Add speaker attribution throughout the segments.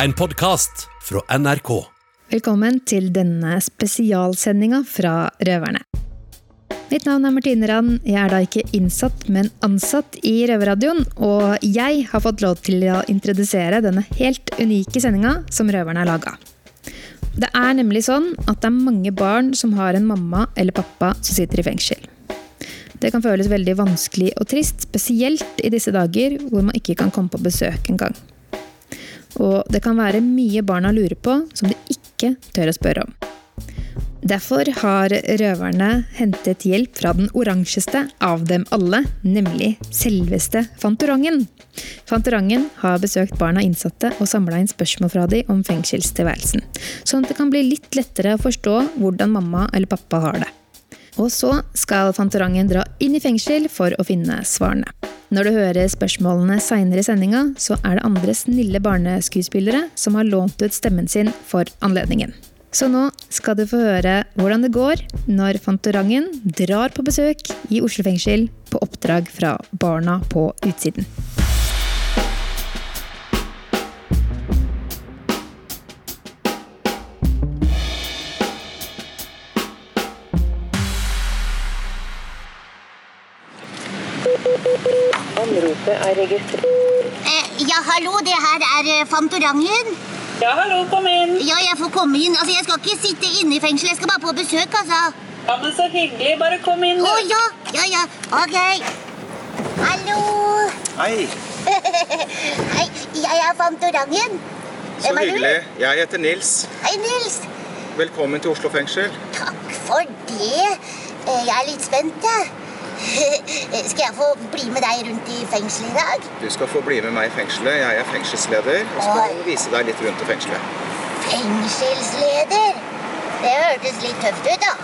Speaker 1: En podkast fra NRK.
Speaker 2: Velkommen til denne spesialsendinga fra Røverne. Mitt navn er Martine Rand. Jeg er da ikke innsatt, men ansatt i Røverradioen. Og jeg har fått lov til å introdusere denne helt unike sendinga som Røverne har laga. Det er nemlig sånn at det er mange barn som har en mamma eller pappa som sitter i fengsel. Det kan føles veldig vanskelig og trist, spesielt i disse dager hvor man ikke kan komme på besøk engang. Og det kan være mye barna lurer på som de ikke tør å spørre om. Derfor har røverne hentet hjelp fra den oransjeste av dem alle, nemlig selveste Fantorangen. Fantorangen har besøkt barna innsatte og samla inn spørsmål fra de om fengselstilværelsen, sånn at det kan bli litt lettere å forstå hvordan mamma eller pappa har det. Og så skal Fantorangen dra inn i fengsel for å finne svarene. Når du hører spørsmålene seinere i sendinga, så er det andre snille barneskuespillere som har lånt ut stemmen sin for anledningen. Så nå skal du få høre hvordan det går når Fantorangen drar på besøk i Oslo fengsel på oppdrag fra barna på utsiden.
Speaker 3: Anropet er registrert.
Speaker 4: Eh, ja, hallo, det her er eh, Fantorangen.
Speaker 3: Ja, hallo, kom inn!
Speaker 4: Ja, jeg får komme inn. Altså, jeg skal ikke sitte inne i fengsel, jeg skal bare på besøk, altså.
Speaker 3: Ja, men så hyggelig. Bare kom inn.
Speaker 4: Å
Speaker 3: du.
Speaker 4: ja, ja, ja, ok. Hallo.
Speaker 5: Hei,
Speaker 4: Hei, jeg er Fantorangen.
Speaker 5: så
Speaker 4: Hvem er du?
Speaker 5: hyggelig. Jeg heter Nils.
Speaker 4: Hei, Nils.
Speaker 5: Velkommen til Oslo fengsel.
Speaker 4: Takk for det. Eh, jeg er litt spent, jeg. Eh, skal jeg få bli med deg rundt i fengsel i dag?
Speaker 5: Du skal få bli med meg i fengselet. Jeg er fengselsleder og skal
Speaker 4: Oi.
Speaker 5: vise deg litt rundt i fengselet.
Speaker 4: Fengselsleder. Det hørtes litt tøft ut, da.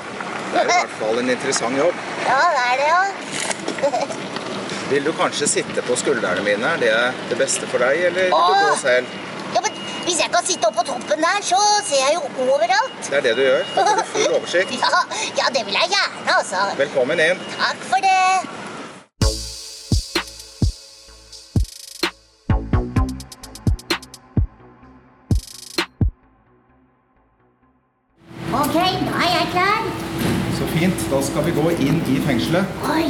Speaker 5: Det er i hvert fall en interessant jobb.
Speaker 4: Ja, det er det, ja.
Speaker 5: Vil du kanskje sitte på skuldrene mine? Er det det beste for deg, eller vil du
Speaker 4: Åh.
Speaker 5: gå selv?
Speaker 4: Ja, men Hvis jeg kan sitte oppe på toppen der, så ser jeg jo overalt.
Speaker 5: Det er det du gjør. Da får du full oversikt.
Speaker 4: Ja, ja, det vil jeg gjerne, altså.
Speaker 5: Velkommen inn.
Speaker 4: Takk for det. Ok, da er jeg klar.
Speaker 5: Så fint. Da skal vi gå inn i fengselet.
Speaker 4: Oi,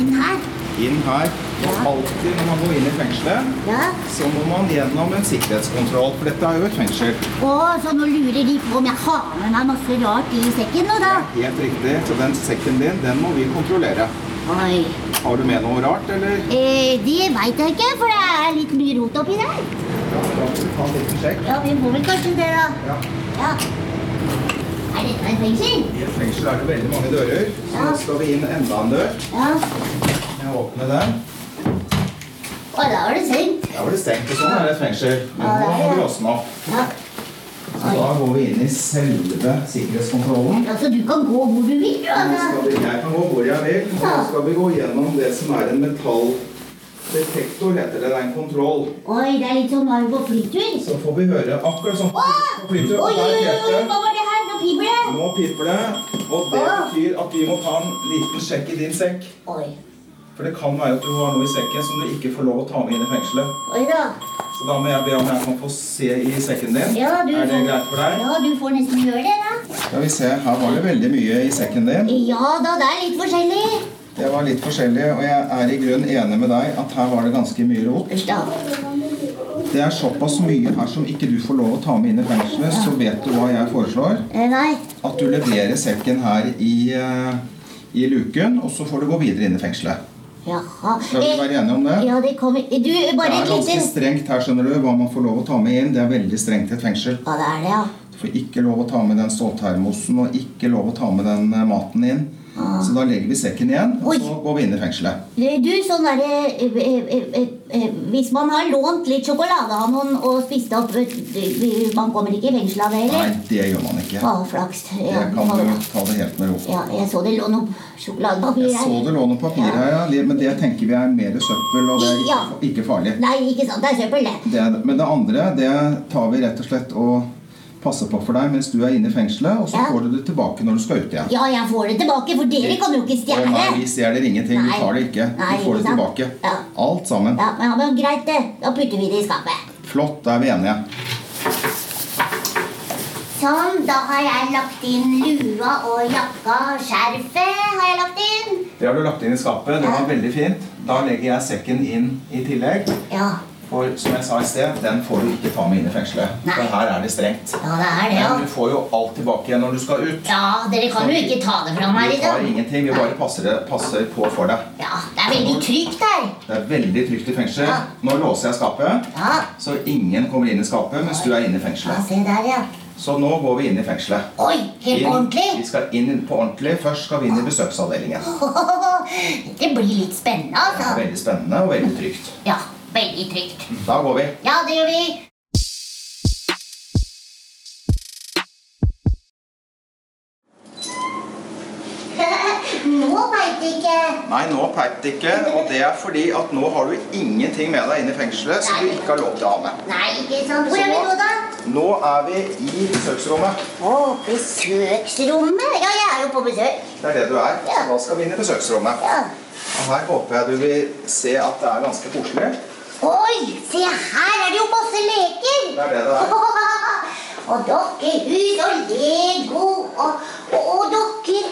Speaker 4: inn her.
Speaker 5: Inn her. Og alltid når man går inn i fengselet,
Speaker 4: Ja.
Speaker 5: så må man gjennom en sikkerhetskontroll. For dette er jo et fengsel.
Speaker 4: Å, så nå lurer de på om jeg har med meg masse rart i sekken nå, da.
Speaker 5: Helt riktig. Så den sekken din, den må vi kontrollere.
Speaker 4: Oi.
Speaker 5: Har du med noe rart, eller?
Speaker 4: Eh, det veit jeg ikke, for det er litt mye rot oppi der.
Speaker 5: Ja, da må vi ta en liten sjekk.
Speaker 4: Ja, vi må vel kanskje det, da.
Speaker 5: Ja.
Speaker 4: Ja. Er dette et fengsel?
Speaker 5: I et fengsel er det veldig mange dører, så nå skal vi inn enda en dør.
Speaker 4: Ja.
Speaker 5: Jeg åpner den.
Speaker 4: Og da var det sengt.
Speaker 5: Der var det stengt, og sånn er det et fengsel. Men
Speaker 4: Ja, det
Speaker 5: nå
Speaker 4: er
Speaker 5: må vi
Speaker 4: det.
Speaker 5: låse den opp.
Speaker 4: Ja.
Speaker 5: Så da går vi inn i selve sikkerhetskontrollen.
Speaker 4: ja, så du kan gå hvor du vil, du,
Speaker 5: Nå
Speaker 4: altså.
Speaker 5: skal vi, jeg kan gå hvor jeg vil, og så skal vi gå gjennom det som er en metalldetektor, heter det. Det er en kontroll.
Speaker 4: Oi, det er litt sånn varm på flytur.
Speaker 5: Så får vi høre akkurat sånn
Speaker 4: Åh!
Speaker 5: på
Speaker 4: Oi,
Speaker 5: flytur.
Speaker 4: oi,
Speaker 5: og der
Speaker 4: oi, oi,
Speaker 5: heter
Speaker 4: hva
Speaker 5: det.
Speaker 4: var det her? Nå piper det.
Speaker 5: Nå piper det, og det betyr at vi må ta en liten sjekk i din sekk.
Speaker 4: Oi.
Speaker 5: For det kan være at du har noe i sekken som du ikke får lov å ta med inn i fengselet.
Speaker 4: Oi da.
Speaker 5: Så da må jeg be om jeg kan få se i sekken din.
Speaker 4: Ja, du
Speaker 5: er det
Speaker 4: får-
Speaker 5: greit for deg?
Speaker 4: Ja, du får nesten gjøre det, da.
Speaker 5: Skal vi se, her var det veldig mye i sekken din.
Speaker 4: Ja da, det er litt forskjellig.
Speaker 5: Det var litt forskjellig, og jeg er i grunn enig med deg at her var det ganske mye rot.
Speaker 4: Usch da.
Speaker 5: Det er såpass mye her som ikke du får lov å ta med inn i fengselet, så vet du hva jeg foreslår?
Speaker 4: Eh, Nei.
Speaker 5: At du leverer sekken her i, eh, i luken, og så får du gå videre inn i fengselet.
Speaker 4: Jaha.
Speaker 5: Skal vi
Speaker 4: Eh,
Speaker 5: være enige om det?
Speaker 4: Ja, det kommer Du,
Speaker 5: Det
Speaker 4: bare
Speaker 5: er
Speaker 4: et
Speaker 5: ganske
Speaker 4: lite
Speaker 5: strengt her, skjønner du, hva man får lov å ta med inn. Det er veldig strengt i et fengsel.
Speaker 4: Ja, det er det, ja.
Speaker 5: Du får ikke lov å ta med den ståltermosen og ikke lov å ta med den eh, maten inn. Så da legger vi sekken igjen, og
Speaker 4: Ah. Oi.
Speaker 5: så går vi inn i fengselet.
Speaker 4: Du, sånn der, eh, eh, eh, eh, eh, Hvis man har lånt litt sjokolade av noen og spist opp eh, eh, Man kommer ikke i fengsel av det,
Speaker 5: Nei,
Speaker 4: eller?
Speaker 5: det gjør man ikke.
Speaker 4: Å, flaks.
Speaker 5: Det
Speaker 4: Ja,
Speaker 5: kan
Speaker 4: ja.
Speaker 5: du ta det helt med ro.
Speaker 4: Ah. ja, jeg så det lå noe sjokoladepapir
Speaker 5: Jeg så det lå noe papir her, ja, li- men det tenker vi er mer søppel, og det er ikke,
Speaker 4: Ja.
Speaker 5: ikke farlig.
Speaker 4: Nei, ikke sant. Det er søppel, det.
Speaker 5: Det, er- men det andre, det tar vi rett og slett og passer på for deg mens du er inne i fengselet, og så
Speaker 4: Ja.
Speaker 5: får du det tilbake når du skal ut igjen.
Speaker 4: Ja, jeg får det tilbake, for dere kan jo ikke
Speaker 5: Å,
Speaker 4: stjele.
Speaker 5: Nei, vi stjeler ingenting.
Speaker 4: Nei.
Speaker 5: Vi tar det ikke.
Speaker 4: Nei,
Speaker 5: Vi får det
Speaker 4: ikke sant?
Speaker 5: tilbake.
Speaker 4: Ja.
Speaker 5: Alt sammen.
Speaker 4: Ja, men, ja, men greit, det. Da putter vi det i skapet.
Speaker 5: Flott, da er vi enige.
Speaker 4: Sånn, da har jeg lagt inn lua og jakka. Skjerfet har jeg lagt inn.
Speaker 5: Det har du lagt inn i skapet. Det var veldig fint. Da legger jeg sekken inn i tillegg.
Speaker 4: Ja,
Speaker 5: For som jeg sa i sted, den får du ikke ta med inn i fengselet.
Speaker 4: Nei.
Speaker 5: For her er det strengt.
Speaker 4: ja det er det, ja.
Speaker 5: Men du får jo alt tilbake igjen når du skal ut.
Speaker 4: Ja, dere kan jo ikke ta det fra meg,
Speaker 5: Vi tar
Speaker 4: liksom.
Speaker 5: ingenting. Vi bare passer, det- passer på for deg.
Speaker 4: Ja, det er veldig trygt her.
Speaker 5: Det er veldig trygt i fengsel.
Speaker 4: Ja.
Speaker 5: Nå låser jeg skapet,
Speaker 4: Ja,
Speaker 5: så ingen kommer inn i skapet mens du er inne i
Speaker 4: ja
Speaker 5: fengselet.
Speaker 4: se der, ja.
Speaker 5: Så nå går vi inn i fengselet.
Speaker 4: Oi, helt
Speaker 5: Inn-
Speaker 4: på
Speaker 5: Vi
Speaker 4: ordentlig.
Speaker 5: skal inn på ordentlig. Først skal vi inn i besøksavdelingen.
Speaker 4: Det blir litt spennende,
Speaker 5: Det er
Speaker 4: altså.
Speaker 5: veldig spennende og veldig trygt.
Speaker 4: Ja, veldig trygt.
Speaker 5: Da går vi.
Speaker 4: Ja, det gjør vi. Nå veit jeg ikke.
Speaker 5: Nei, nå peip det ikke, og det er fordi at nå har du ingenting med deg inn i fengselet som du ikke har lov til å ha med.
Speaker 4: Nei, ikke sant. Hvor er vi nå, da?
Speaker 5: Nå er vi i besøksrommet.
Speaker 4: Å, besøksrommet. Ja, jeg er jo på besøk.
Speaker 5: Det er det du er. Så
Speaker 4: Ja.
Speaker 5: da skal vi inn i besøksrommet.
Speaker 4: Ja.
Speaker 5: Og her håper jeg du vil se at det er ganske koselig.
Speaker 4: Oi, se her er det jo masse leker.
Speaker 5: Det er det det er.
Speaker 4: og dokkehus og Lego og, og, og dokker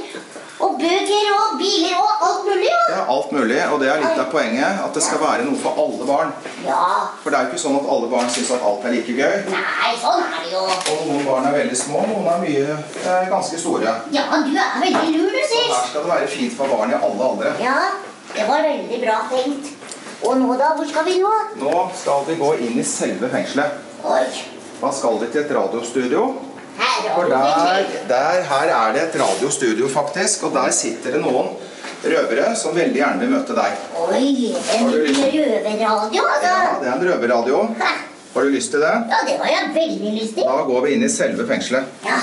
Speaker 4: og bøker og biler og alt mulig.
Speaker 5: Det
Speaker 4: Ja.
Speaker 5: er alt mulig, og det er litt av poenget. At det skal være noe for alle barn.
Speaker 4: ja.
Speaker 5: For det er jo ikke sånn at alle barn syns at alt er like gøy.
Speaker 4: Nei, sånn er det jo.
Speaker 5: Og noen barn er veldig små, noen er mye eh, ganske store.
Speaker 4: Ja, du er veldig lur, du,
Speaker 5: Og her
Speaker 4: Sils.
Speaker 5: skal Sånn det være fint for barn i alle aldre.
Speaker 4: Ja, det var veldig bra tenkt. Og nå, da? Hvor skal vi nå?
Speaker 5: Nå skal vi gå inn i selve fengselet.
Speaker 4: Oi,
Speaker 5: Da skal vi til et radiostudio.
Speaker 4: her har
Speaker 5: For
Speaker 4: du
Speaker 5: der,
Speaker 4: ikke
Speaker 5: der, her er det et radiostudio, faktisk. Og der sitter det noen røvere som veldig gjerne vil møte deg.
Speaker 4: Oi, en
Speaker 5: Har du lyst-
Speaker 4: røverradio, altså.
Speaker 5: Ja, det er en røverradio.
Speaker 4: Ha,
Speaker 5: Har du lyst til det?
Speaker 4: Ja, det var jeg veldig lyst til.
Speaker 5: Da går vi inn i selve fengselet.
Speaker 4: Ja.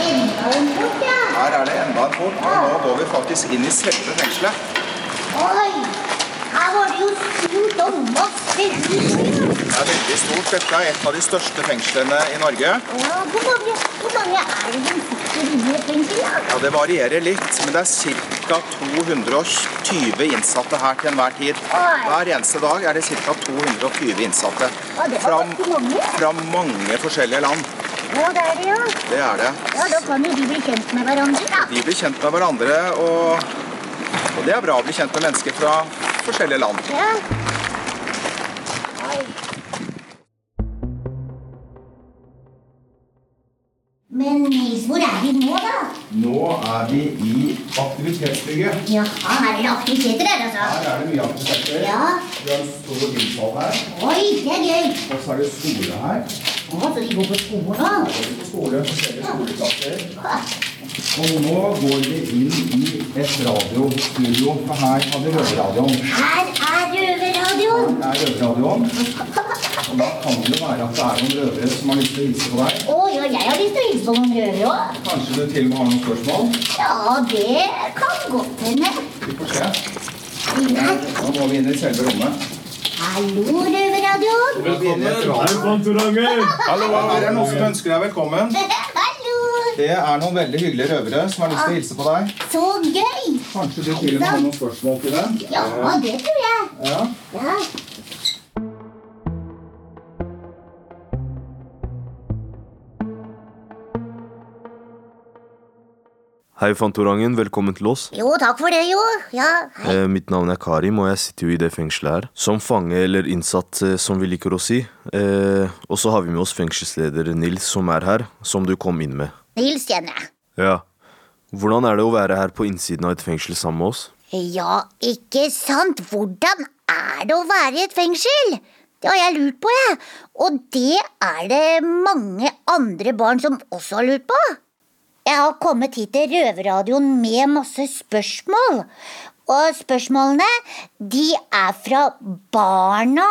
Speaker 4: Enda en port, ja.
Speaker 5: Her er det enda en port, og nå går vi faktisk inn i selve fengselet.
Speaker 4: Oi, her var det jo stort og masse hus. Ja.
Speaker 5: Det er veldig stort. Dette er et av de største fengslene i Norge.
Speaker 4: Å, Hvor mange, hvor mange er det som sitter inne i fengsel? da?
Speaker 5: Ja, Det varierer litt, men det er ca. 220 innsatte her til enhver tid. Hver eneste dag er det ca. 220 innsatte.
Speaker 4: Ja, det var
Speaker 5: Fra,
Speaker 4: ganske mange.
Speaker 5: fra mange forskjellige land.
Speaker 4: Ja, det er det, ja.
Speaker 5: Det er det.
Speaker 4: Ja, Da kan jo de bli kjent med hverandre, da.
Speaker 5: De blir kjent med hverandre, og, og det er bra å bli kjent med mennesker fra forskjellige land.
Speaker 4: Ja. Men Nils, hvor er vi nå, da?
Speaker 5: Nå er vi i aktivitetsbygget.
Speaker 4: Ja, her er det aktiviteter der, altså.
Speaker 5: Her er det mye aktiviteter.
Speaker 4: Ja.
Speaker 5: Vi har en stor bilsal her,
Speaker 4: Oi, det er gøy.
Speaker 5: og så er det skole her.
Speaker 4: Å, så de går på skolen nå?
Speaker 5: Og skole, forskjellige skoleklasser.
Speaker 4: Ja.
Speaker 5: Og nå går vi inn i et radiostudio, for her har vi røverradioen.
Speaker 4: Her er røverradioen.
Speaker 5: Det er røverradioen, og da kan det være at det er noen røvere som har lyst til å hilse på deg.
Speaker 4: Å ja, jeg har lyst til å hilse på noen røvere òg.
Speaker 5: Kanskje du til og med har noen spørsmål?
Speaker 4: Ja, det kan godt hende.
Speaker 5: Vi får se.
Speaker 4: Nei.
Speaker 5: Nå går vi inn i selve rommet.
Speaker 4: Hallo, Røverradioen!
Speaker 5: Velkommen!
Speaker 6: Velkommen til Rangen!
Speaker 5: Hallo, her er noen som ønsker deg velkommen.
Speaker 4: Hallo!
Speaker 5: Det er noen veldig hyggelige røvere som har lyst til å hilse på deg.
Speaker 4: Så gøy!
Speaker 5: Kanskje du til og med har noen spørsmål til dem?
Speaker 4: Ja, det tror jeg.
Speaker 5: Ja.
Speaker 4: Ja.
Speaker 7: Hei, Fantorangen. Velkommen til oss.
Speaker 4: Jo, takk for det, jo. Ja.
Speaker 7: Eh, mitt navn er Karim, og jeg sitter jo i det fengselet her. Som fange eller innsatt, eh, som vi liker å si. Eh, og så har vi med oss fengselsleder Nils, som er her, som du kom inn med.
Speaker 4: Nils kjenner jeg.
Speaker 7: Ja. Hvordan er det å være her på innsiden av et fengsel sammen med oss?
Speaker 4: Ja, ikke sant? Hvordan er det å være i et fengsel? Det har jeg lurt på, jeg. Og det er det mange andre barn som også har lurt på. Jeg har kommet hit til Røverradioen med masse spørsmål. Og spørsmålene, de er fra barna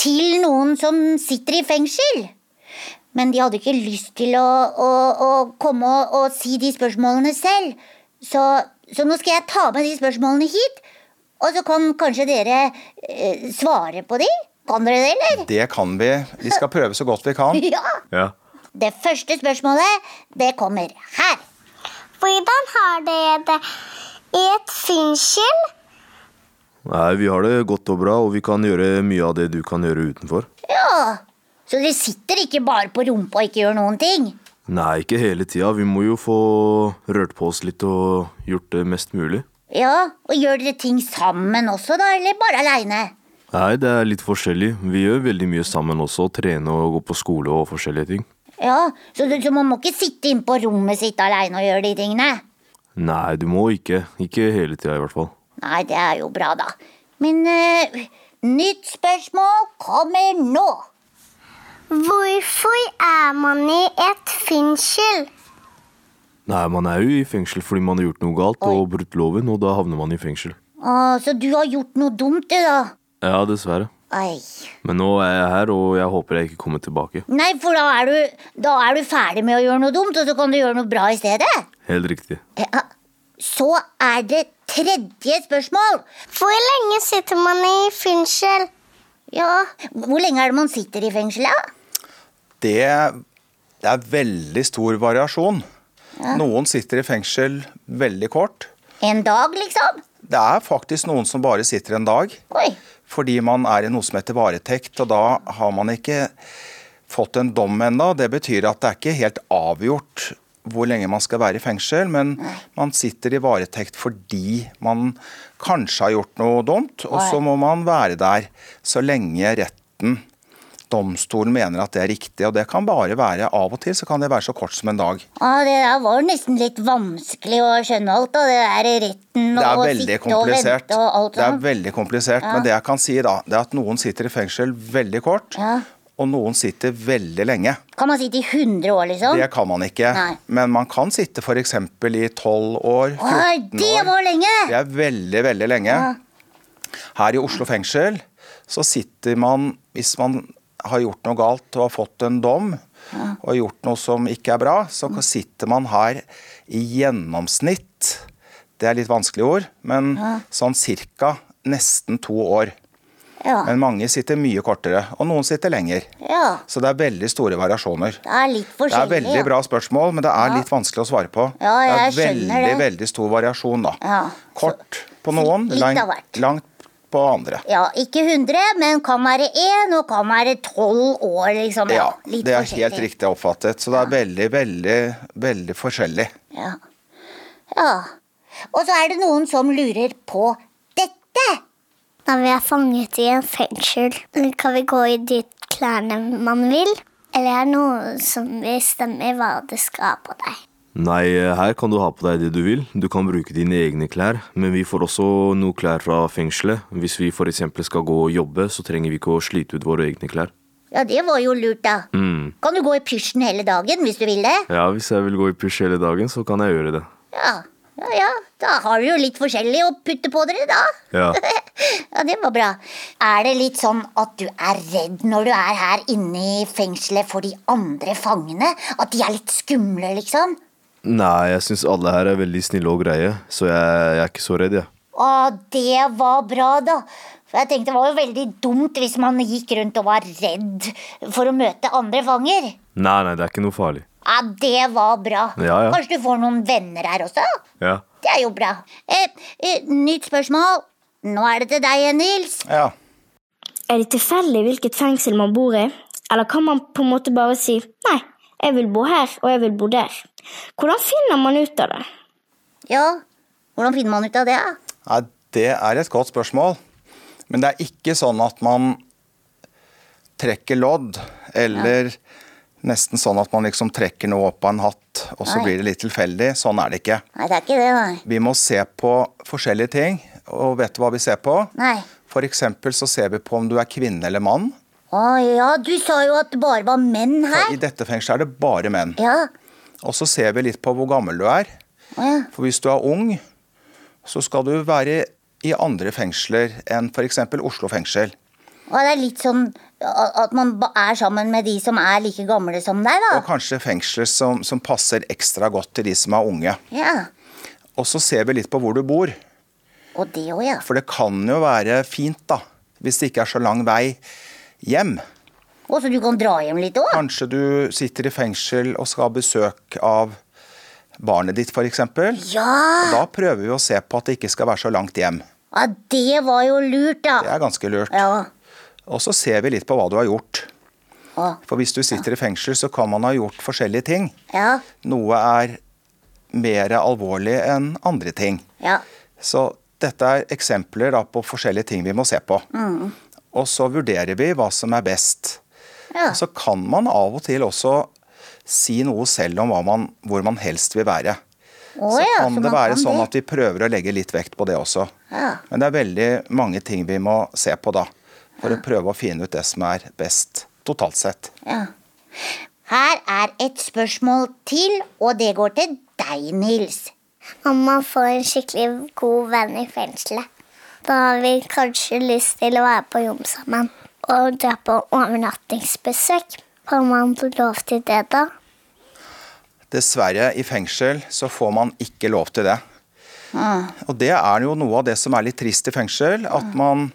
Speaker 4: til noen som sitter i fengsel. Men de hadde ikke lyst til å, å, å komme og, og si de spørsmålene selv. Så, så nå skal jeg ta med de spørsmålene hit, og så kan kanskje dere eh, svare på de. Kan dere det, eller?
Speaker 5: Det kan vi. Vi skal prøve så godt vi kan.
Speaker 4: Ja!
Speaker 7: Ja.
Speaker 4: Det første spørsmålet, det kommer her.
Speaker 8: Hvordan har dere det i et fengsel?
Speaker 7: Nei, vi har det godt og bra, og vi kan gjøre mye av det du kan gjøre utenfor.
Speaker 4: Ja, Så dere sitter ikke bare på rumpa og ikke gjør noen ting?
Speaker 7: Nei, ikke hele tida. Vi må jo få rørt på oss litt og gjort det mest mulig.
Speaker 4: Ja, Og gjør dere ting sammen også, da, eller bare aleine?
Speaker 7: Nei, det er litt forskjellig. Vi gjør veldig mye sammen også. Trene og gå på skole og forskjellige ting.
Speaker 4: Ja, så, du- så man må ikke sitte inne på rommet sitt aleine og gjøre de tingene?
Speaker 7: Nei, du må ikke. Ikke hele tida, i hvert fall.
Speaker 4: Nei, det er jo bra, da. Men eh, nytt spørsmål kommer nå.
Speaker 8: Hvorfor er man i et fengsel?
Speaker 7: Nei, man er jo i fengsel fordi man har gjort noe galt og brutt loven, og da havner man i fengsel.
Speaker 4: Å, så du har gjort noe dumt, du, da.
Speaker 7: Ja, dessverre.
Speaker 4: Ei.
Speaker 7: Men nå er jeg her, og jeg håper jeg ikke kommer tilbake.
Speaker 4: Nei, for da er, du, da er du ferdig med å gjøre noe dumt, og så kan du gjøre noe bra i stedet.
Speaker 7: Helt riktig.
Speaker 4: Ja. Så er det tredje spørsmål.
Speaker 8: Hvor lenge sitter man i fengsel?
Speaker 4: Ja, Hvor lenge er det man sitter i fengselet?
Speaker 5: det, det er veldig stor variasjon. Noen sitter i fengsel veldig kort.
Speaker 4: En dag, liksom?
Speaker 5: Det er faktisk noen som bare sitter en dag,
Speaker 4: Oi.
Speaker 5: fordi man er i noe som heter varetekt, og da har man ikke fått en dom ennå. Det betyr at det er ikke helt avgjort hvor lenge man skal være i fengsel, men man sitter i varetekt fordi man kanskje har gjort noe dumt, og så må man være der så lenge retten Domstolen mener at det er riktig, og det kan bare være av og til så kan det være så kort som en dag.
Speaker 4: Ja, Det der var nesten litt vanskelig å skjønne alt, da. Det der i retten
Speaker 5: Det er
Speaker 4: og
Speaker 5: veldig
Speaker 4: sitte og
Speaker 5: komplisert.
Speaker 4: vente og alt
Speaker 5: Det er
Speaker 4: sånt.
Speaker 5: veldig komplisert, Men det jeg kan si, da, det er at noen sitter i fengsel veldig kort,
Speaker 4: Ja.
Speaker 5: og noen sitter veldig lenge.
Speaker 4: Kan man sitte i 100 år, liksom?
Speaker 5: Det kan man ikke.
Speaker 4: Nei.
Speaker 5: Men man kan sitte f.eks. i 12 år, 14
Speaker 4: Oi, det
Speaker 5: år.
Speaker 4: var lenge!
Speaker 5: Det er veldig, veldig lenge. Her i Oslo fengsel så sitter man, hvis man har gjort noe galt og har fått en dom, og gjort noe som ikke er bra, så sitter man her i gjennomsnitt, det er litt vanskelige ord, men sånn cirka nesten to år.
Speaker 4: Ja.
Speaker 5: Men mange sitter mye kortere, og noen sitter lenger.
Speaker 4: ja.
Speaker 5: Så det er veldig store variasjoner.
Speaker 4: Det er litt
Speaker 5: Det er
Speaker 4: forskjellig.
Speaker 5: veldig
Speaker 4: ja.
Speaker 5: bra spørsmål, men det er litt vanskelig å svare på.
Speaker 4: Ja, jeg
Speaker 5: det er
Speaker 4: skjønner
Speaker 5: veldig,
Speaker 4: det.
Speaker 5: veldig stor variasjon, da.
Speaker 4: Ja,
Speaker 5: Kort på noen,
Speaker 4: litt av
Speaker 5: langt,
Speaker 4: hvert.
Speaker 5: langt på andre.
Speaker 4: Ja, ikke 100, men kan være 1 og kan være 12 år, liksom.
Speaker 5: Ja,
Speaker 4: litt
Speaker 5: det er
Speaker 4: forskjellig.
Speaker 5: helt riktig oppfattet. Så det er veldig, veldig, veldig forskjellig.
Speaker 4: Ja. ja. Og så er det noen som lurer på dette.
Speaker 8: Når vi er fanget i en fengsel, kan vi gå i de klærne man vil? Eller er det noen som bestemmer hva du skal ha på deg?
Speaker 7: Nei, her kan du ha på deg det du vil. Du kan bruke dine egne klær, men vi får også noe klær fra fengselet. Hvis vi f.eks. skal gå og jobbe, så trenger vi ikke å slite ut våre egne klær.
Speaker 4: Ja, det var jo lurt, da. Kan du gå i pysjen hele dagen hvis du vil det?
Speaker 7: Ja, hvis jeg vil gå i pysj hele dagen, så kan jeg gjøre det.
Speaker 4: Ja. ja, ja. Da har dere jo litt forskjellig å putte på dere, da.
Speaker 7: Ja.
Speaker 4: Ja, det var bra. Er det litt sånn at du er redd når du er her inne i fengselet for de andre fangene? At de er litt skumle, liksom?
Speaker 7: Nei, jeg syns alle her er veldig snille og greie, så jeg, jeg er ikke så redd, jeg.
Speaker 4: Å, Ah, det var bra, da. For jeg tenkte Det var jo veldig dumt hvis man gikk rundt og var redd for å møte andre fanger.
Speaker 7: Nei, nei, det er ikke noe farlig.
Speaker 4: Ja, Det var bra.
Speaker 7: Ja, ja.
Speaker 4: Kanskje du får noen venner her også?
Speaker 7: Ja.
Speaker 4: Det er jo bra. Eh, eh, nytt spørsmål. Nå er det til deg, Nils.
Speaker 5: Ja.
Speaker 9: Er det tilfeldig hvilket fengsel man bor i? Eller kan man på en måte bare si nei, jeg vil bo her og jeg vil bo der? Hvordan finner man ut av det?
Speaker 4: Ja, Hvordan finner man ut av det? da?
Speaker 5: Nei, det er et godt spørsmål. Men det er ikke sånn at man trekker lodd, eller nesten sånn at man liksom trekker noe opp av en hatt, og så
Speaker 4: Nei.
Speaker 5: blir det litt tilfeldig. Sånn er det ikke.
Speaker 4: Nei, det er ikke det, nei.
Speaker 5: Vi må se på forskjellige ting, og vet du hva vi ser på?
Speaker 4: Nei.
Speaker 5: For eksempel så ser vi på om du er kvinne eller mann.
Speaker 4: Å ja, du sa jo at det bare var menn
Speaker 5: For
Speaker 4: her.
Speaker 5: I dette fengselet er det bare menn.
Speaker 4: Ja,
Speaker 5: Og så ser vi litt på hvor gammel du er.
Speaker 4: å ja.
Speaker 5: For hvis du er ung, så skal du være i andre fengsler enn f.eks. Oslo fengsel.
Speaker 4: Og det er litt sånn a- at man ba- er sammen med de som er like gamle som deg,
Speaker 5: Og
Speaker 4: da.
Speaker 5: kanskje fengsler som, som passer ekstra godt til de som er unge.
Speaker 4: Ja,
Speaker 5: Og så ser vi litt på hvor du bor.
Speaker 4: Og det òg, ja.
Speaker 5: For det kan jo være fint, da, hvis det ikke er så lang vei hjem.
Speaker 4: Og så du kan dra hjem litt òg.
Speaker 5: Kanskje du sitter i fengsel og skal ha besøk av barnet ditt, f.eks.
Speaker 4: Ja,
Speaker 5: Da prøver vi å se på at det ikke skal være så langt hjem.
Speaker 4: ja, det var jo lurt, da.
Speaker 5: Det er ganske lurt.
Speaker 4: Ja.
Speaker 5: Og så ser vi litt på hva du har gjort.
Speaker 4: Å,
Speaker 5: For hvis du sitter i fengsel, så kan man ha gjort forskjellige ting.
Speaker 4: ja,
Speaker 5: Noe er mer alvorlig enn andre ting.
Speaker 4: ja.
Speaker 5: Så dette er eksempler da på forskjellige ting vi må se på.
Speaker 4: Mm.
Speaker 5: Og så vurderer vi hva som er best.
Speaker 4: Ja.
Speaker 5: Og så kan man av og til også si noe selv om hva man, hvor man helst vil være.
Speaker 4: Å,
Speaker 5: så
Speaker 4: ja,
Speaker 5: kan
Speaker 4: så
Speaker 5: det
Speaker 4: man
Speaker 5: være
Speaker 4: kan
Speaker 5: sånn
Speaker 4: det.
Speaker 5: at vi prøver å legge litt vekt på det også.
Speaker 4: Ja.
Speaker 5: Men det er veldig mange ting vi må se på da, for å prøve å finne ut det som er best totalt sett.
Speaker 4: ja. Her er et spørsmål til, og det går til deg, Nils.
Speaker 8: Om man får en skikkelig god venn i fengselet. Da har vi kanskje lyst til å være på jobb sammen og dra på overnattingsbesøk. Får man lov til det, da?
Speaker 5: Dessverre, i fengsel så får man ikke lov til det.
Speaker 4: Ah.
Speaker 5: Og det er jo noe av det som er litt trist i fengsel, at man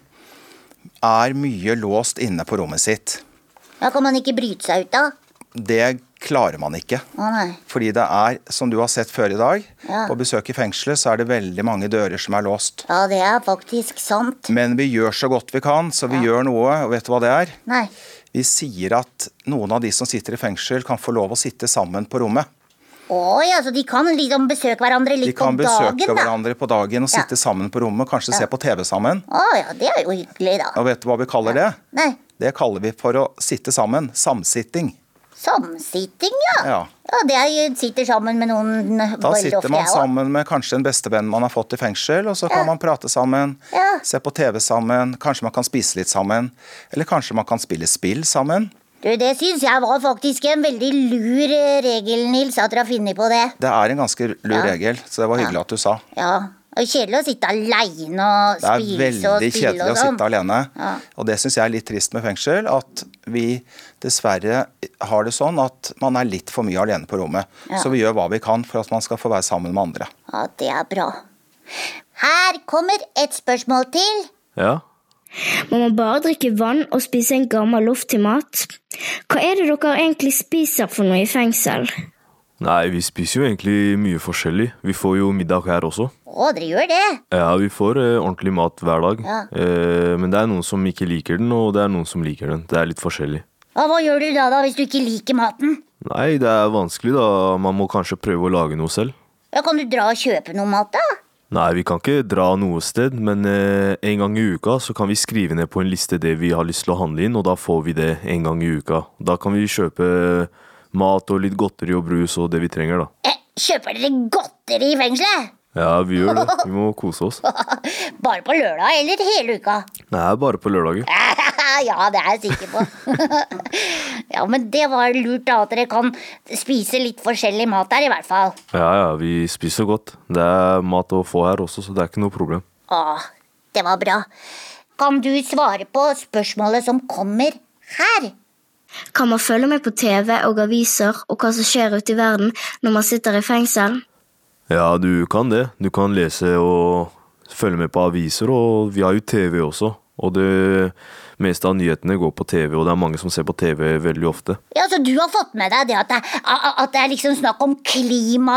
Speaker 5: er mye låst inne på rommet sitt.
Speaker 4: Da kan man ikke bryte seg ut, da.
Speaker 5: Det klarer man ikke.
Speaker 4: Å nei.
Speaker 5: Fordi det er, som du har sett før i dag,
Speaker 4: Ja.
Speaker 5: på besøk i fengselet så er det veldig mange dører som er låst.
Speaker 4: Ja, det er faktisk sant.
Speaker 5: Men vi gjør så godt vi kan, så vi gjør noe, og vet du hva det er?
Speaker 4: Nei.
Speaker 5: Vi sier at noen av de som sitter i fengsel kan få lov å sitte sammen på rommet.
Speaker 4: Å ja, så de kan liksom besøke hverandre
Speaker 5: De
Speaker 4: litt
Speaker 5: kan
Speaker 4: om dagen,
Speaker 5: besøke
Speaker 4: da.
Speaker 5: hverandre på dagen og
Speaker 4: Ja.
Speaker 5: sitte sammen på rommet, kanskje se på TV sammen.
Speaker 4: Å ja, det er jo hyggelig, da.
Speaker 5: Og vet du hva vi kaller det?
Speaker 4: Nei,
Speaker 5: Det kaller vi for å sitte sammen. Samsitting.
Speaker 4: samsitting, ja.
Speaker 5: Ja.
Speaker 4: Ja, det er, jo- sitter sammen med noen
Speaker 5: Da
Speaker 4: veldig
Speaker 5: sitter
Speaker 4: ofte,
Speaker 5: man
Speaker 4: jeg også.
Speaker 5: sammen med kanskje en bestevenn man har fått i fengsel, og så kan man prate sammen,
Speaker 4: Ja.
Speaker 5: se på TV sammen, kanskje man kan spise litt sammen, eller kanskje man kan spille spill sammen.
Speaker 4: Du, det syns jeg var faktisk en veldig lur eh, regel, Nils, at dere har funnet på det.
Speaker 5: Det er en ganske lur
Speaker 4: Ja.
Speaker 5: regel, så det var hyggelig at du sa.
Speaker 4: Ja. Og kjedelig å sitte aleine og
Speaker 5: Det er
Speaker 4: spise og
Speaker 5: veldig
Speaker 4: spille
Speaker 5: kjedelig å
Speaker 4: og sånn.
Speaker 5: sitte alene,
Speaker 4: Ja.
Speaker 5: og det syns jeg er litt trist med fengsel, at vi dessverre har det sånn at man er litt for mye alene på rommet.
Speaker 4: Ja.
Speaker 5: Så vi gjør hva vi kan for at man skal få være sammen med andre.
Speaker 4: Ja, det er bra. Her kommer et spørsmål til.
Speaker 7: Ja,
Speaker 9: Må man bare drikke vann og spise en gammel loff til mat? Hva er det dere egentlig spiser for noe i fengsel?
Speaker 7: Nei, vi spiser jo egentlig mye forskjellig. Vi får jo middag her også.
Speaker 4: Å, dere gjør det?
Speaker 7: Ja, vi får eh, ordentlig mat hver dag.
Speaker 4: Ja.
Speaker 7: Eh, men det er noen som ikke liker den, og det er noen som liker den. Det er litt forskjellig.
Speaker 4: Ja, hva gjør du da, da, hvis du ikke liker maten?
Speaker 7: Nei, det er vanskelig, da. Man må kanskje prøve å lage noe selv.
Speaker 4: Ja, Kan du dra og kjøpe noe mat, da?
Speaker 7: Nei, vi kan ikke dra noe sted, men eh, en gang i uka så kan vi skrive ned på en liste det vi har lyst til å handle inn, og da får vi det en gang i uka. Da kan vi kjøpe mat og litt godteri og brus og det vi trenger, da.
Speaker 4: Eh, kjøper dere godteri i fengselet?
Speaker 7: Ja, vi gjør det. Vi må kose oss.
Speaker 4: Bare på lørdag eller hele uka?
Speaker 7: Det er bare på lørdager.
Speaker 4: ja, det er jeg sikker på. ja, men det var lurt, da, at dere kan spise litt forskjellig mat der, i hvert fall.
Speaker 7: Ja, ja, vi spiser godt. Det er mat å få her også, så det er ikke noe problem.
Speaker 4: Å, det var bra. Kan du svare på spørsmålet som kommer her?
Speaker 9: Kan man følge med på TV og aviser og hva som skjer ute i verden når man sitter i fengsel?
Speaker 7: Ja, du kan det. Du kan lese og følge med på aviser, og vi har jo TV også. Og det meste av nyhetene går på TV, og det er mange som ser på TV veldig ofte.
Speaker 4: Ja, så Du har fått med deg det at det, a- a- at det er liksom snakk om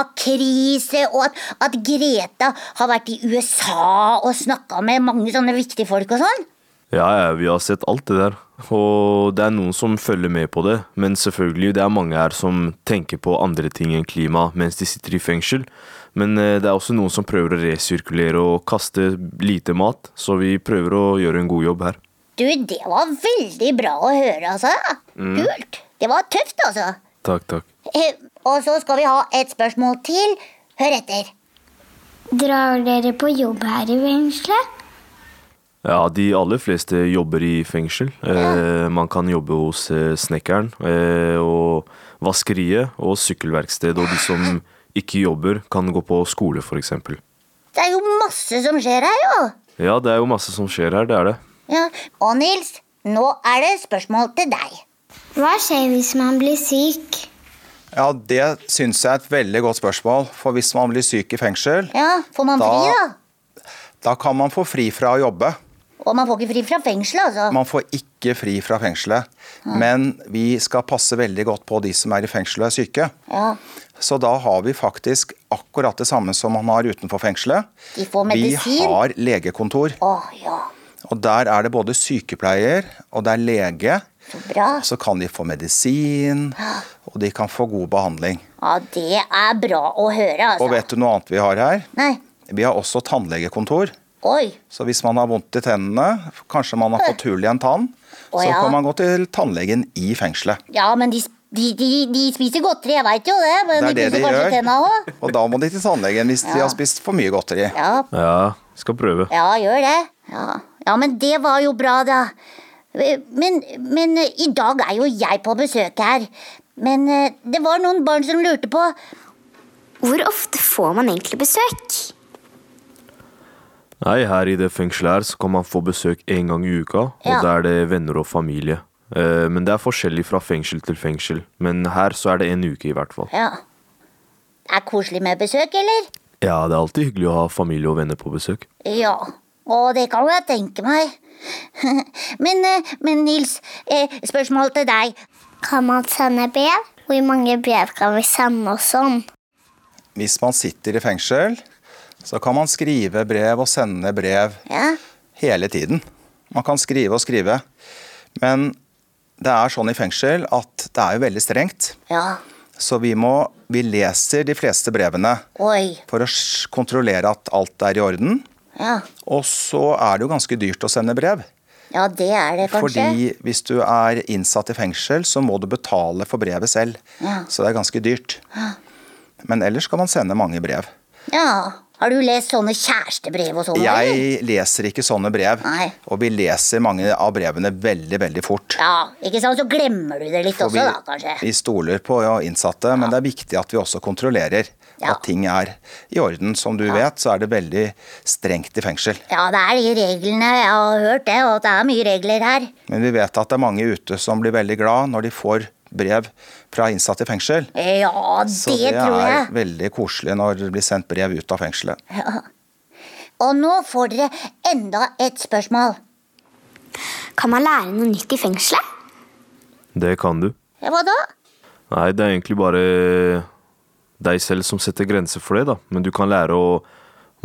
Speaker 4: klimakrise, og at, at Greta har vært i USA og snakka med mange sånne viktige folk og sånn?
Speaker 7: Ja, ja, vi har sett alt det der. Og det er noen som følger med på det, men selvfølgelig, det er mange her som tenker på andre ting enn klima mens de sitter i fengsel. Men eh, det er også noen som prøver å resirkulere og kaste lite mat, så vi prøver å gjøre en god jobb her.
Speaker 4: Du, det var veldig bra å høre, altså. Kult. Det var tøft, altså.
Speaker 7: Takk, takk.
Speaker 4: Eh, Og så skal vi ha et spørsmål til. Hør etter.
Speaker 8: Drar dere på jobb her i fengselet?
Speaker 7: Ja, de aller fleste jobber i fengsel. Eh, man kan jobbe hos eh, snekkeren eh, og vaskeriet og sykkelverksted, og de som ikke jobber, kan gå på skole, f.eks.
Speaker 4: Det er jo masse som skjer her, jo.
Speaker 7: Ja, det er jo masse som skjer her, det er det.
Speaker 4: Ja. Og Nils, nå er det spørsmål til deg.
Speaker 8: Hva skjer hvis man blir syk?
Speaker 5: Ja, det syns jeg er et veldig godt spørsmål, for hvis man blir syk i fengsel,
Speaker 4: Ja, Får man fri,
Speaker 5: Da-
Speaker 4: da?
Speaker 5: da kan man få fri fra å jobbe.
Speaker 4: Og man får ikke fri fra fengselet, altså.
Speaker 5: Man får ikke ikke fri fra fengselet. Men vi skal passe veldig godt på de som er i fengselet og er syke.
Speaker 4: Ja.
Speaker 5: Så da har vi faktisk akkurat det samme som man har utenfor fengselet.
Speaker 4: De får
Speaker 5: Vi
Speaker 4: medisin.
Speaker 5: har legekontor.
Speaker 4: Å ja,
Speaker 5: Og der er det både sykepleier og det er lege.
Speaker 4: så bra.
Speaker 5: Så kan de få medisin, og de kan få god behandling.
Speaker 4: Ja, det er bra å høre, altså.
Speaker 5: Og vet du noe annet vi har her?
Speaker 4: Nei,
Speaker 5: Vi har også tannlegekontor.
Speaker 4: oi.
Speaker 5: Så hvis man har vondt i tennene, kanskje man har fått hull i en tann,
Speaker 4: Å,
Speaker 5: så
Speaker 4: ja.
Speaker 5: kan man gå til tannlegen i fengselet.
Speaker 4: Ja, men de, de, de, de spiser godteri, jeg veit jo det. Men
Speaker 5: Det er det de
Speaker 4: pusser kanskje
Speaker 5: gjør.
Speaker 4: tenna også.
Speaker 5: Og da må de til tannlegen hvis de har spist for mye godteri.
Speaker 4: Ja,
Speaker 7: Ja, skal prøve.
Speaker 4: ja, gjør det. Ja. ja, men det var jo bra, da. Men, men eh, i dag er jo jeg på besøk her. Men eh, det var noen barn som lurte på
Speaker 9: Hvor ofte får man egentlig besøk?
Speaker 7: Nei, her i det fengselet her så kan man få besøk én gang i uka, og
Speaker 4: Ja.
Speaker 7: da er det venner og familie. Eh, Men det er forskjellig fra fengsel til fengsel. Men her så er det en uke i hvert fall.
Speaker 4: Ja. Det er koselig med besøk, eller?
Speaker 7: Ja, det er alltid hyggelig å ha familie og venner på besøk.
Speaker 4: Ja. Og det kan jeg tenke meg. men, eh, men Nils, eh, spørsmål til deg.
Speaker 8: Kan man sende brev? Hvor mange brev kan vi sende og sånn?
Speaker 5: Hvis man sitter i fengsel, så kan man skrive brev og sende brev
Speaker 4: Ja?
Speaker 5: hele tiden. Man kan skrive og skrive. Men det er sånn i fengsel at det er jo veldig strengt.
Speaker 4: ja.
Speaker 5: Så vi, må, vi leser de fleste brevene
Speaker 4: Oi.
Speaker 5: for å sj- kontrollere at alt er i orden.
Speaker 4: Ja.
Speaker 5: Og så er det jo ganske dyrt å sende brev.
Speaker 4: ja, det er det kanskje.
Speaker 5: Fordi hvis du er innsatt i fengsel, så må du betale for brevet selv.
Speaker 4: Ja.
Speaker 5: Så det er ganske dyrt. Men ellers kan man sende mange brev.
Speaker 4: Ja. Har du lest sånne kjærestebrev og sånn? eller?
Speaker 5: Jeg leser ikke sånne brev,
Speaker 4: Nei.
Speaker 5: og vi leser mange av brevene veldig, veldig fort.
Speaker 4: Ja, ikke sant? Så glemmer du det litt
Speaker 5: For
Speaker 4: også, da, kanskje.
Speaker 5: vi stoler på ja, innsatte, men det er viktig at vi også kontrollerer
Speaker 4: Ja.
Speaker 5: at ting er i orden. Som du vet, så er det veldig strengt i fengsel.
Speaker 4: Ja, det er de reglene. Jeg har hørt det, og at det er mye regler her.
Speaker 5: Men vi vet at det er mange ute som blir veldig glad når de får brev fra innsatte i fengsel.
Speaker 4: Ja, det,
Speaker 5: Så det,
Speaker 4: tror jeg.
Speaker 5: er veldig koselig når det blir sendt brev ut av fengselet.
Speaker 4: Og nå får dere enda et spørsmål.
Speaker 9: Kan man lære noe nytt i fengselet?
Speaker 7: Det kan du.
Speaker 4: Ja, hva da?
Speaker 7: Nei, det er egentlig bare deg selv som setter grenser for det, da. Men du kan lære å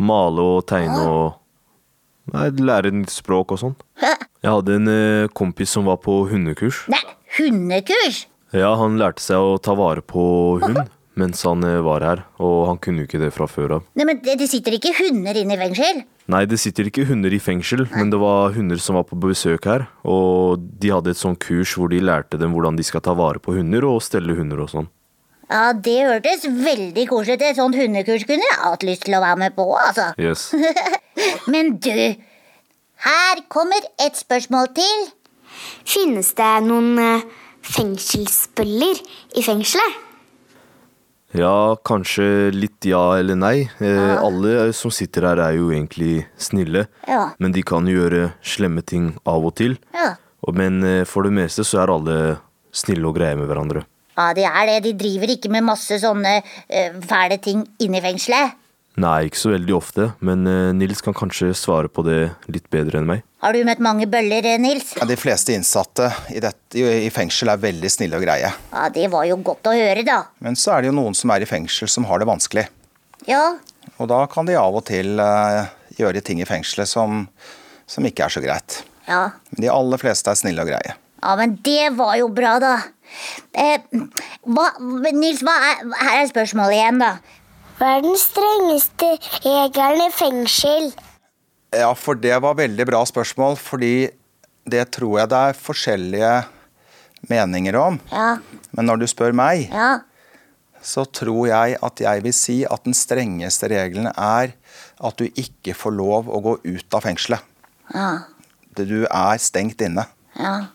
Speaker 7: male og tegne og Nei, lære nytt språk og sånn. Jeg hadde en eh, kompis som var på hundekurs.
Speaker 4: Nei, hundekurs?
Speaker 7: Ja, han lærte seg å ta vare på hund mens han eh, var her, og han kunne jo ikke det fra før av.
Speaker 4: Nei, men det, det sitter ikke hunder inne i fengsel.
Speaker 7: Nei, det sitter ikke hunder i fengsel, men det var hunder som var på besøk her, og de hadde et sånn kurs hvor de lærte dem hvordan de skal ta vare på hunder og stelle hunder og sånn.
Speaker 4: Ja, det hørtes veldig koselig ut. Et sånt hundekurs kunne jeg hatt lyst til å være med på, altså.
Speaker 7: Yes.
Speaker 4: Men du, her kommer et spørsmål til.
Speaker 9: Finnes det noen eh, fengselsbøller i fengselet?
Speaker 7: Ja, kanskje litt ja eller nei. Eh, alle som sitter her er jo egentlig snille,
Speaker 4: Ja.
Speaker 7: men de kan jo gjøre slemme ting av og til.
Speaker 4: Ja.
Speaker 7: Og- Men eh, for det meste så er alle snille og greie med hverandre.
Speaker 4: Ja, de er det. De driver ikke med masse sånne eh, fæle ting inne i fengselet.
Speaker 7: Nei, ikke så veldig ofte, men eh, Nils kan kanskje svare på det litt bedre enn meg.
Speaker 4: Har du møtt mange bøller, eh, Nils?
Speaker 5: Ja, De fleste innsatte i, dette, i fengsel er veldig snille og greie.
Speaker 4: Ja, det var jo godt å høre, da.
Speaker 5: Men så er det jo noen som er i fengsel som har det vanskelig.
Speaker 4: Ja,
Speaker 5: Og da kan de av og til eh, gjøre ting i fengselet som, som ikke er så greit.
Speaker 4: ja.
Speaker 5: Men de aller fleste er snille og greie.
Speaker 4: Ja, men det var jo bra, da. Eh, hva, Nils, hva er, her er spørsmålet igjen, da.
Speaker 8: Hva er den strengeste regelen i fengsel?
Speaker 5: Ja, for det var veldig bra spørsmål, fordi det tror jeg det er forskjellige meninger om.
Speaker 4: Ja,
Speaker 5: Men når du spør meg,
Speaker 4: ja.
Speaker 5: så tror jeg at jeg vil si at den strengeste regelen er at du ikke får lov å gå ut av fengselet.
Speaker 4: Ja,
Speaker 5: Det- Du er stengt inne
Speaker 4: ja.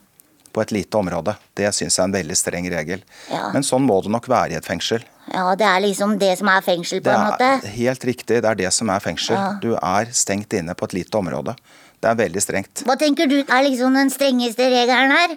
Speaker 5: på et lite område. Det syns jeg er en veldig streng regel.
Speaker 4: Ja.
Speaker 5: Men sånn må det nok være i et fengsel.
Speaker 4: ja, det er liksom det som er fengsel, på
Speaker 5: Det
Speaker 4: en
Speaker 5: er
Speaker 4: måte.
Speaker 5: helt riktig, det er det som er fengsel. Du er stengt inne på et lite område. Det er veldig strengt.
Speaker 4: Hva tenker du er liksom den strengeste regelen her?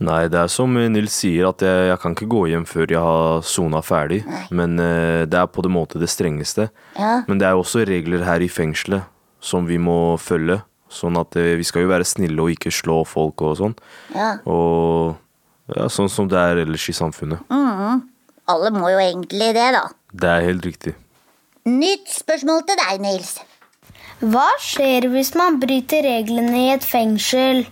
Speaker 7: Nei, det er som eh, Nils sier, at jeg, jeg kan ikke gå hjem før jeg har sona ferdig. Men eh, det er på en måte det strengeste.
Speaker 4: Ja.
Speaker 7: Men det er jo også regler her i fengselet som vi må følge. Sånn at eh, vi skal jo være snille og ikke slå folk og sånn.
Speaker 4: Ja.
Speaker 7: Og ja, sånn som det er ellers i samfunnet.
Speaker 4: Mm-hmm. Alle må jo egentlig det, da.
Speaker 7: Det er helt riktig.
Speaker 4: Nytt spørsmål til deg, Nils.
Speaker 8: Hva skjer hvis man bryter reglene i et fengsel?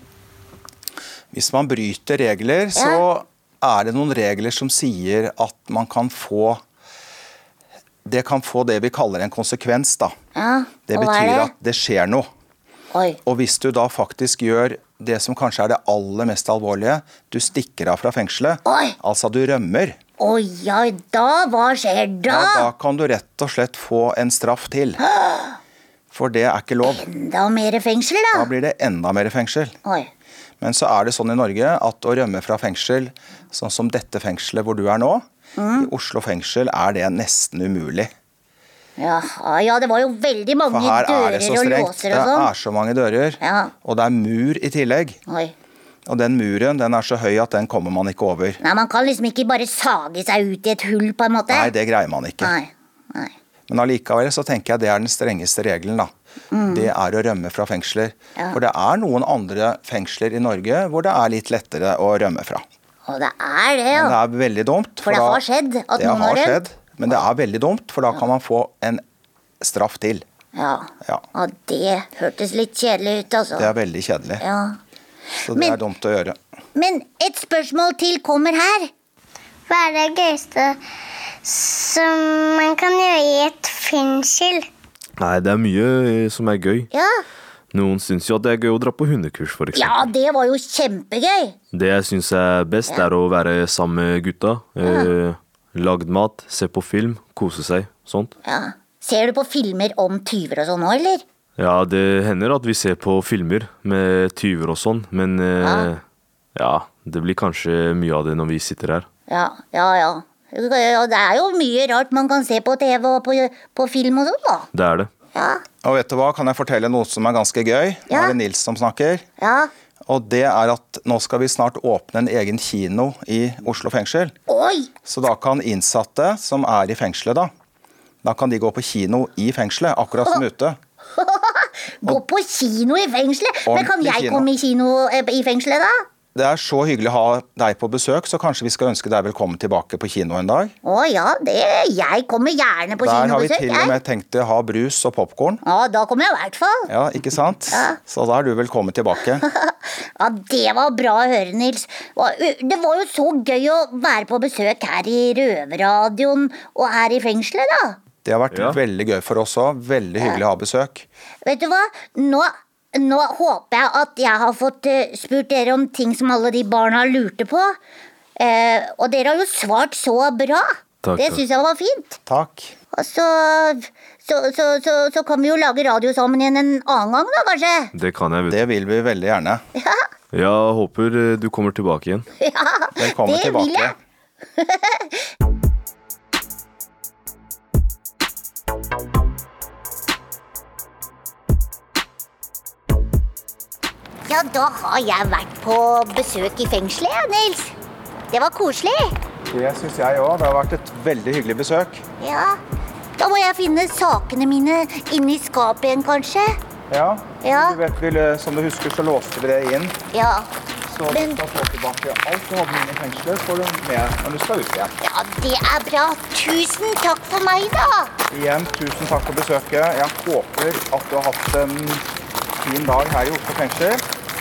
Speaker 5: Hvis man bryter regler, så er det noen regler som sier at man kan få Det kan få det vi kaller en konsekvens, da.
Speaker 4: Ja,
Speaker 5: Det
Speaker 4: og hva
Speaker 5: betyr
Speaker 4: er det?
Speaker 5: at det skjer noe.
Speaker 4: Oi.
Speaker 5: Og hvis du da faktisk gjør det som kanskje er det aller mest alvorlige, du stikker av fra fengselet,
Speaker 4: Oi.
Speaker 5: altså du rømmer,
Speaker 4: Oi, oi, da, hva skjer da?
Speaker 5: ja, da kan du rett og slett få en straff til. For det er ikke lov.
Speaker 4: Enda mer fengsel, da.
Speaker 5: Da blir det enda mer fengsel.
Speaker 4: Oi.
Speaker 5: Men så er det sånn i Norge at å rømme fra fengsel, sånn som dette fengselet hvor du er nå,
Speaker 4: Mm.
Speaker 5: i Oslo fengsel er det nesten umulig.
Speaker 4: Jaha, ja, det var jo veldig
Speaker 5: For
Speaker 4: mange
Speaker 5: her er
Speaker 4: dører
Speaker 5: det så
Speaker 4: og
Speaker 5: strengt.
Speaker 4: låser
Speaker 5: Det
Speaker 4: og
Speaker 5: er
Speaker 4: sånn.
Speaker 5: så mange dører,
Speaker 4: Ja.
Speaker 5: og det er mur i tillegg.
Speaker 4: Oi.
Speaker 5: Og den muren den er så høy at den kommer man ikke over.
Speaker 4: Nei, man kan liksom ikke bare sage seg ut i et hull, på en måte.
Speaker 5: Nei, det greier man ikke.
Speaker 4: Nei, nei.
Speaker 5: Men allikevel så tenker jeg det er den strengeste regelen, da.
Speaker 4: Mm.
Speaker 5: Det er å rømme fra fengsler. For det er noen andre fengsler i Norge hvor det er litt lettere å rømme fra.
Speaker 4: Og det er det,
Speaker 5: Men det
Speaker 4: ja.
Speaker 5: er veldig dumt.
Speaker 4: For det
Speaker 5: da-
Speaker 4: har skjedd at
Speaker 5: det
Speaker 4: noen har
Speaker 5: har
Speaker 4: rømt.
Speaker 5: skjedd. Men det er veldig dumt, for da kan man få en straff til.
Speaker 4: Ja.
Speaker 5: Ja.
Speaker 4: Og det hørtes litt kjedelig ut, altså.
Speaker 5: Det er veldig kjedelig.
Speaker 4: Ja.
Speaker 5: Så det
Speaker 4: Men-
Speaker 5: er dumt å gjøre.
Speaker 4: Men et spørsmål til kommer her.
Speaker 8: Hva er det gøyeste som man kan gjøre i et fengsel?
Speaker 7: Nei, det er mye eh, som er gøy.
Speaker 4: Ja,
Speaker 7: Noen syns jo at det er gøy å dra på hundekurs, for
Speaker 4: ja
Speaker 7: eksempel.
Speaker 4: det var jo kjempegøy.
Speaker 7: Det jeg syns er best, er å være sammen med gutta. Eh, lagd mat, se på film, kose seg. Sånt.
Speaker 4: Ja. Ser du på filmer om tyver og sånn nå, eller?
Speaker 7: Ja, det hender at vi ser på filmer med tyver og sånn, men eh, ja, det blir kanskje mye av det når vi sitter her.
Speaker 4: Ja, ja, ja. Og det er jo mye rart man kan se på TV og på, på film og sånn, da.
Speaker 7: Det er det.
Speaker 4: Ja,
Speaker 5: Og vet du hva, kan jeg fortelle noe som er ganske gøy? Nå
Speaker 4: Ja.
Speaker 5: er det Nils som snakker.
Speaker 4: ja.
Speaker 5: Og det er at nå skal vi snart åpne en egen kino i Oslo fengsel.
Speaker 4: Oi!
Speaker 5: Så da kan innsatte som er i fengselet, da da kan de gå på kino i fengselet, akkurat som ute.
Speaker 4: Gå på kino i fengselet! Men kan
Speaker 5: Ordentlig
Speaker 4: jeg
Speaker 5: kino.
Speaker 4: komme i kino eh, i fengselet, da?
Speaker 5: Det er så hyggelig å ha deg på besøk, så kanskje vi skal ønske deg velkommen tilbake på kino en dag.
Speaker 4: Å ja, det, jeg kommer gjerne på
Speaker 5: Der har vi
Speaker 4: kinobesøk.
Speaker 5: til og
Speaker 4: jeg.
Speaker 5: med tenkt å ha brus og popkorn.
Speaker 4: Ja, da kommer jeg i hvert fall.
Speaker 5: Ja, ikke sant? Så da er du velkommen tilbake.
Speaker 4: Ja, Det var bra å høre, Nils. Og, uh, Det var jo så gøy å være på besøk her i Røverradioen og her i fengselet, da.
Speaker 5: Det har vært
Speaker 7: Ja.
Speaker 5: veldig gøy for oss òg. Veldig hyggelig å ha besøk.
Speaker 4: Vet du hva? Nå, nå håper jeg at jeg har fått eh, spurt dere om ting som alle de barna lurte på. Eh, og dere har jo svart så bra.
Speaker 7: Takk,
Speaker 4: det
Speaker 7: takk.
Speaker 4: syns jeg var fint.
Speaker 5: Takk.
Speaker 4: Og så så, så, så så kan vi jo lage radio sammen igjen en annen gang, da, kanskje.
Speaker 7: Det kan jeg, vet du.
Speaker 5: Det vil vi veldig gjerne.
Speaker 7: Ja, håper eh, du kommer tilbake igjen.
Speaker 4: Ja,
Speaker 5: Velkommen
Speaker 4: det vil
Speaker 5: tilbake.
Speaker 4: jeg. Ja, da har jeg vært på besøk i fengselet, jeg, Nils. Det var koselig.
Speaker 5: Det syns jeg òg. Det har vært et veldig hyggelig besøk.
Speaker 4: Ja. Da må jeg finne sakene mine inni skapet igjen, kanskje.
Speaker 5: Ja.
Speaker 4: Ja.
Speaker 5: Du vet, vi, lø- som du husker, så låste vi det inn.
Speaker 4: Ja.
Speaker 5: Så du
Speaker 4: Men-
Speaker 5: skal få tilbake alt du hadde inne i fengselet, får du med når du skal ut igjen.
Speaker 4: ja, det er bra. Tusen takk for meg, da.
Speaker 5: Igjen, tusen takk for besøket. Jeg håper at du har hatt en fin dag her i Oslo fengsel.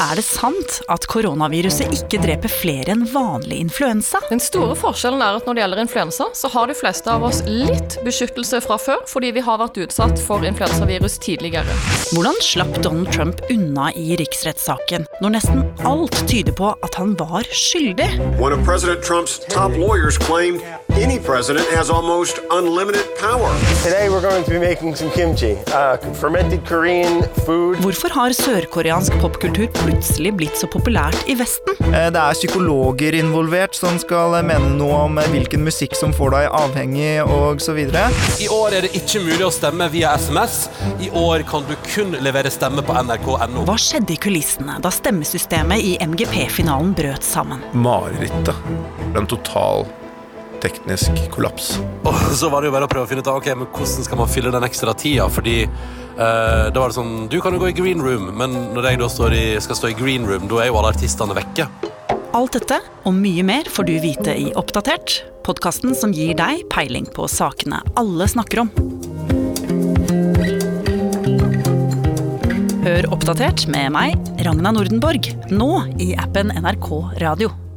Speaker 10: Er det sant at koronaviruset ikke dreper flere enn vanlig influensa?
Speaker 11: Den store forskjellen er at når det gjelder influensa, så har de fleste av oss litt beskyttelse fra før, fordi vi har vært utsatt for influensavirus tidligere.
Speaker 10: Hvordan slapp Donald Trump unna i riksrettssaken, når nesten alt tyder på at han var skyldig?
Speaker 1: One of President Trump's top lawyers claimed
Speaker 12: Any president has almost unlimited power.
Speaker 13: Today we're going to be making some kimchi, uh, fermented Korean food.
Speaker 9: Hvorfor har sørkoreansk popkultur plutselig blitt så populært i Vesten?
Speaker 5: Eh, Det er psykologer involvert som skal mene noe om eh, hvilken musikk som får deg avhengig og så videre.
Speaker 1: I år er det ikke mulig å stemme via SMS. I år kan du kun levere stemme på nrk.no.
Speaker 9: Hva skjedde i kulissene da stemmesystemet i MGP-finalen brøt sammen?
Speaker 7: Marerittet. En total teknisk kollaps.
Speaker 1: Og så var det jo bare å prøve å finne ut av, ok, men hvordan skal man fylle den ekstra tida. Fordi eh, da var det sånn Du kan jo gå i green room, men når jeg da står i, skal stå i green room, da er jo alle artistene vekke.
Speaker 9: Alt dette og mye mer får du vite i Oppdatert, podkasten som gir deg peiling på sakene alle snakker om. Hør Oppdatert med meg, Ragna Nordenborg, nå i appen NRK Radio.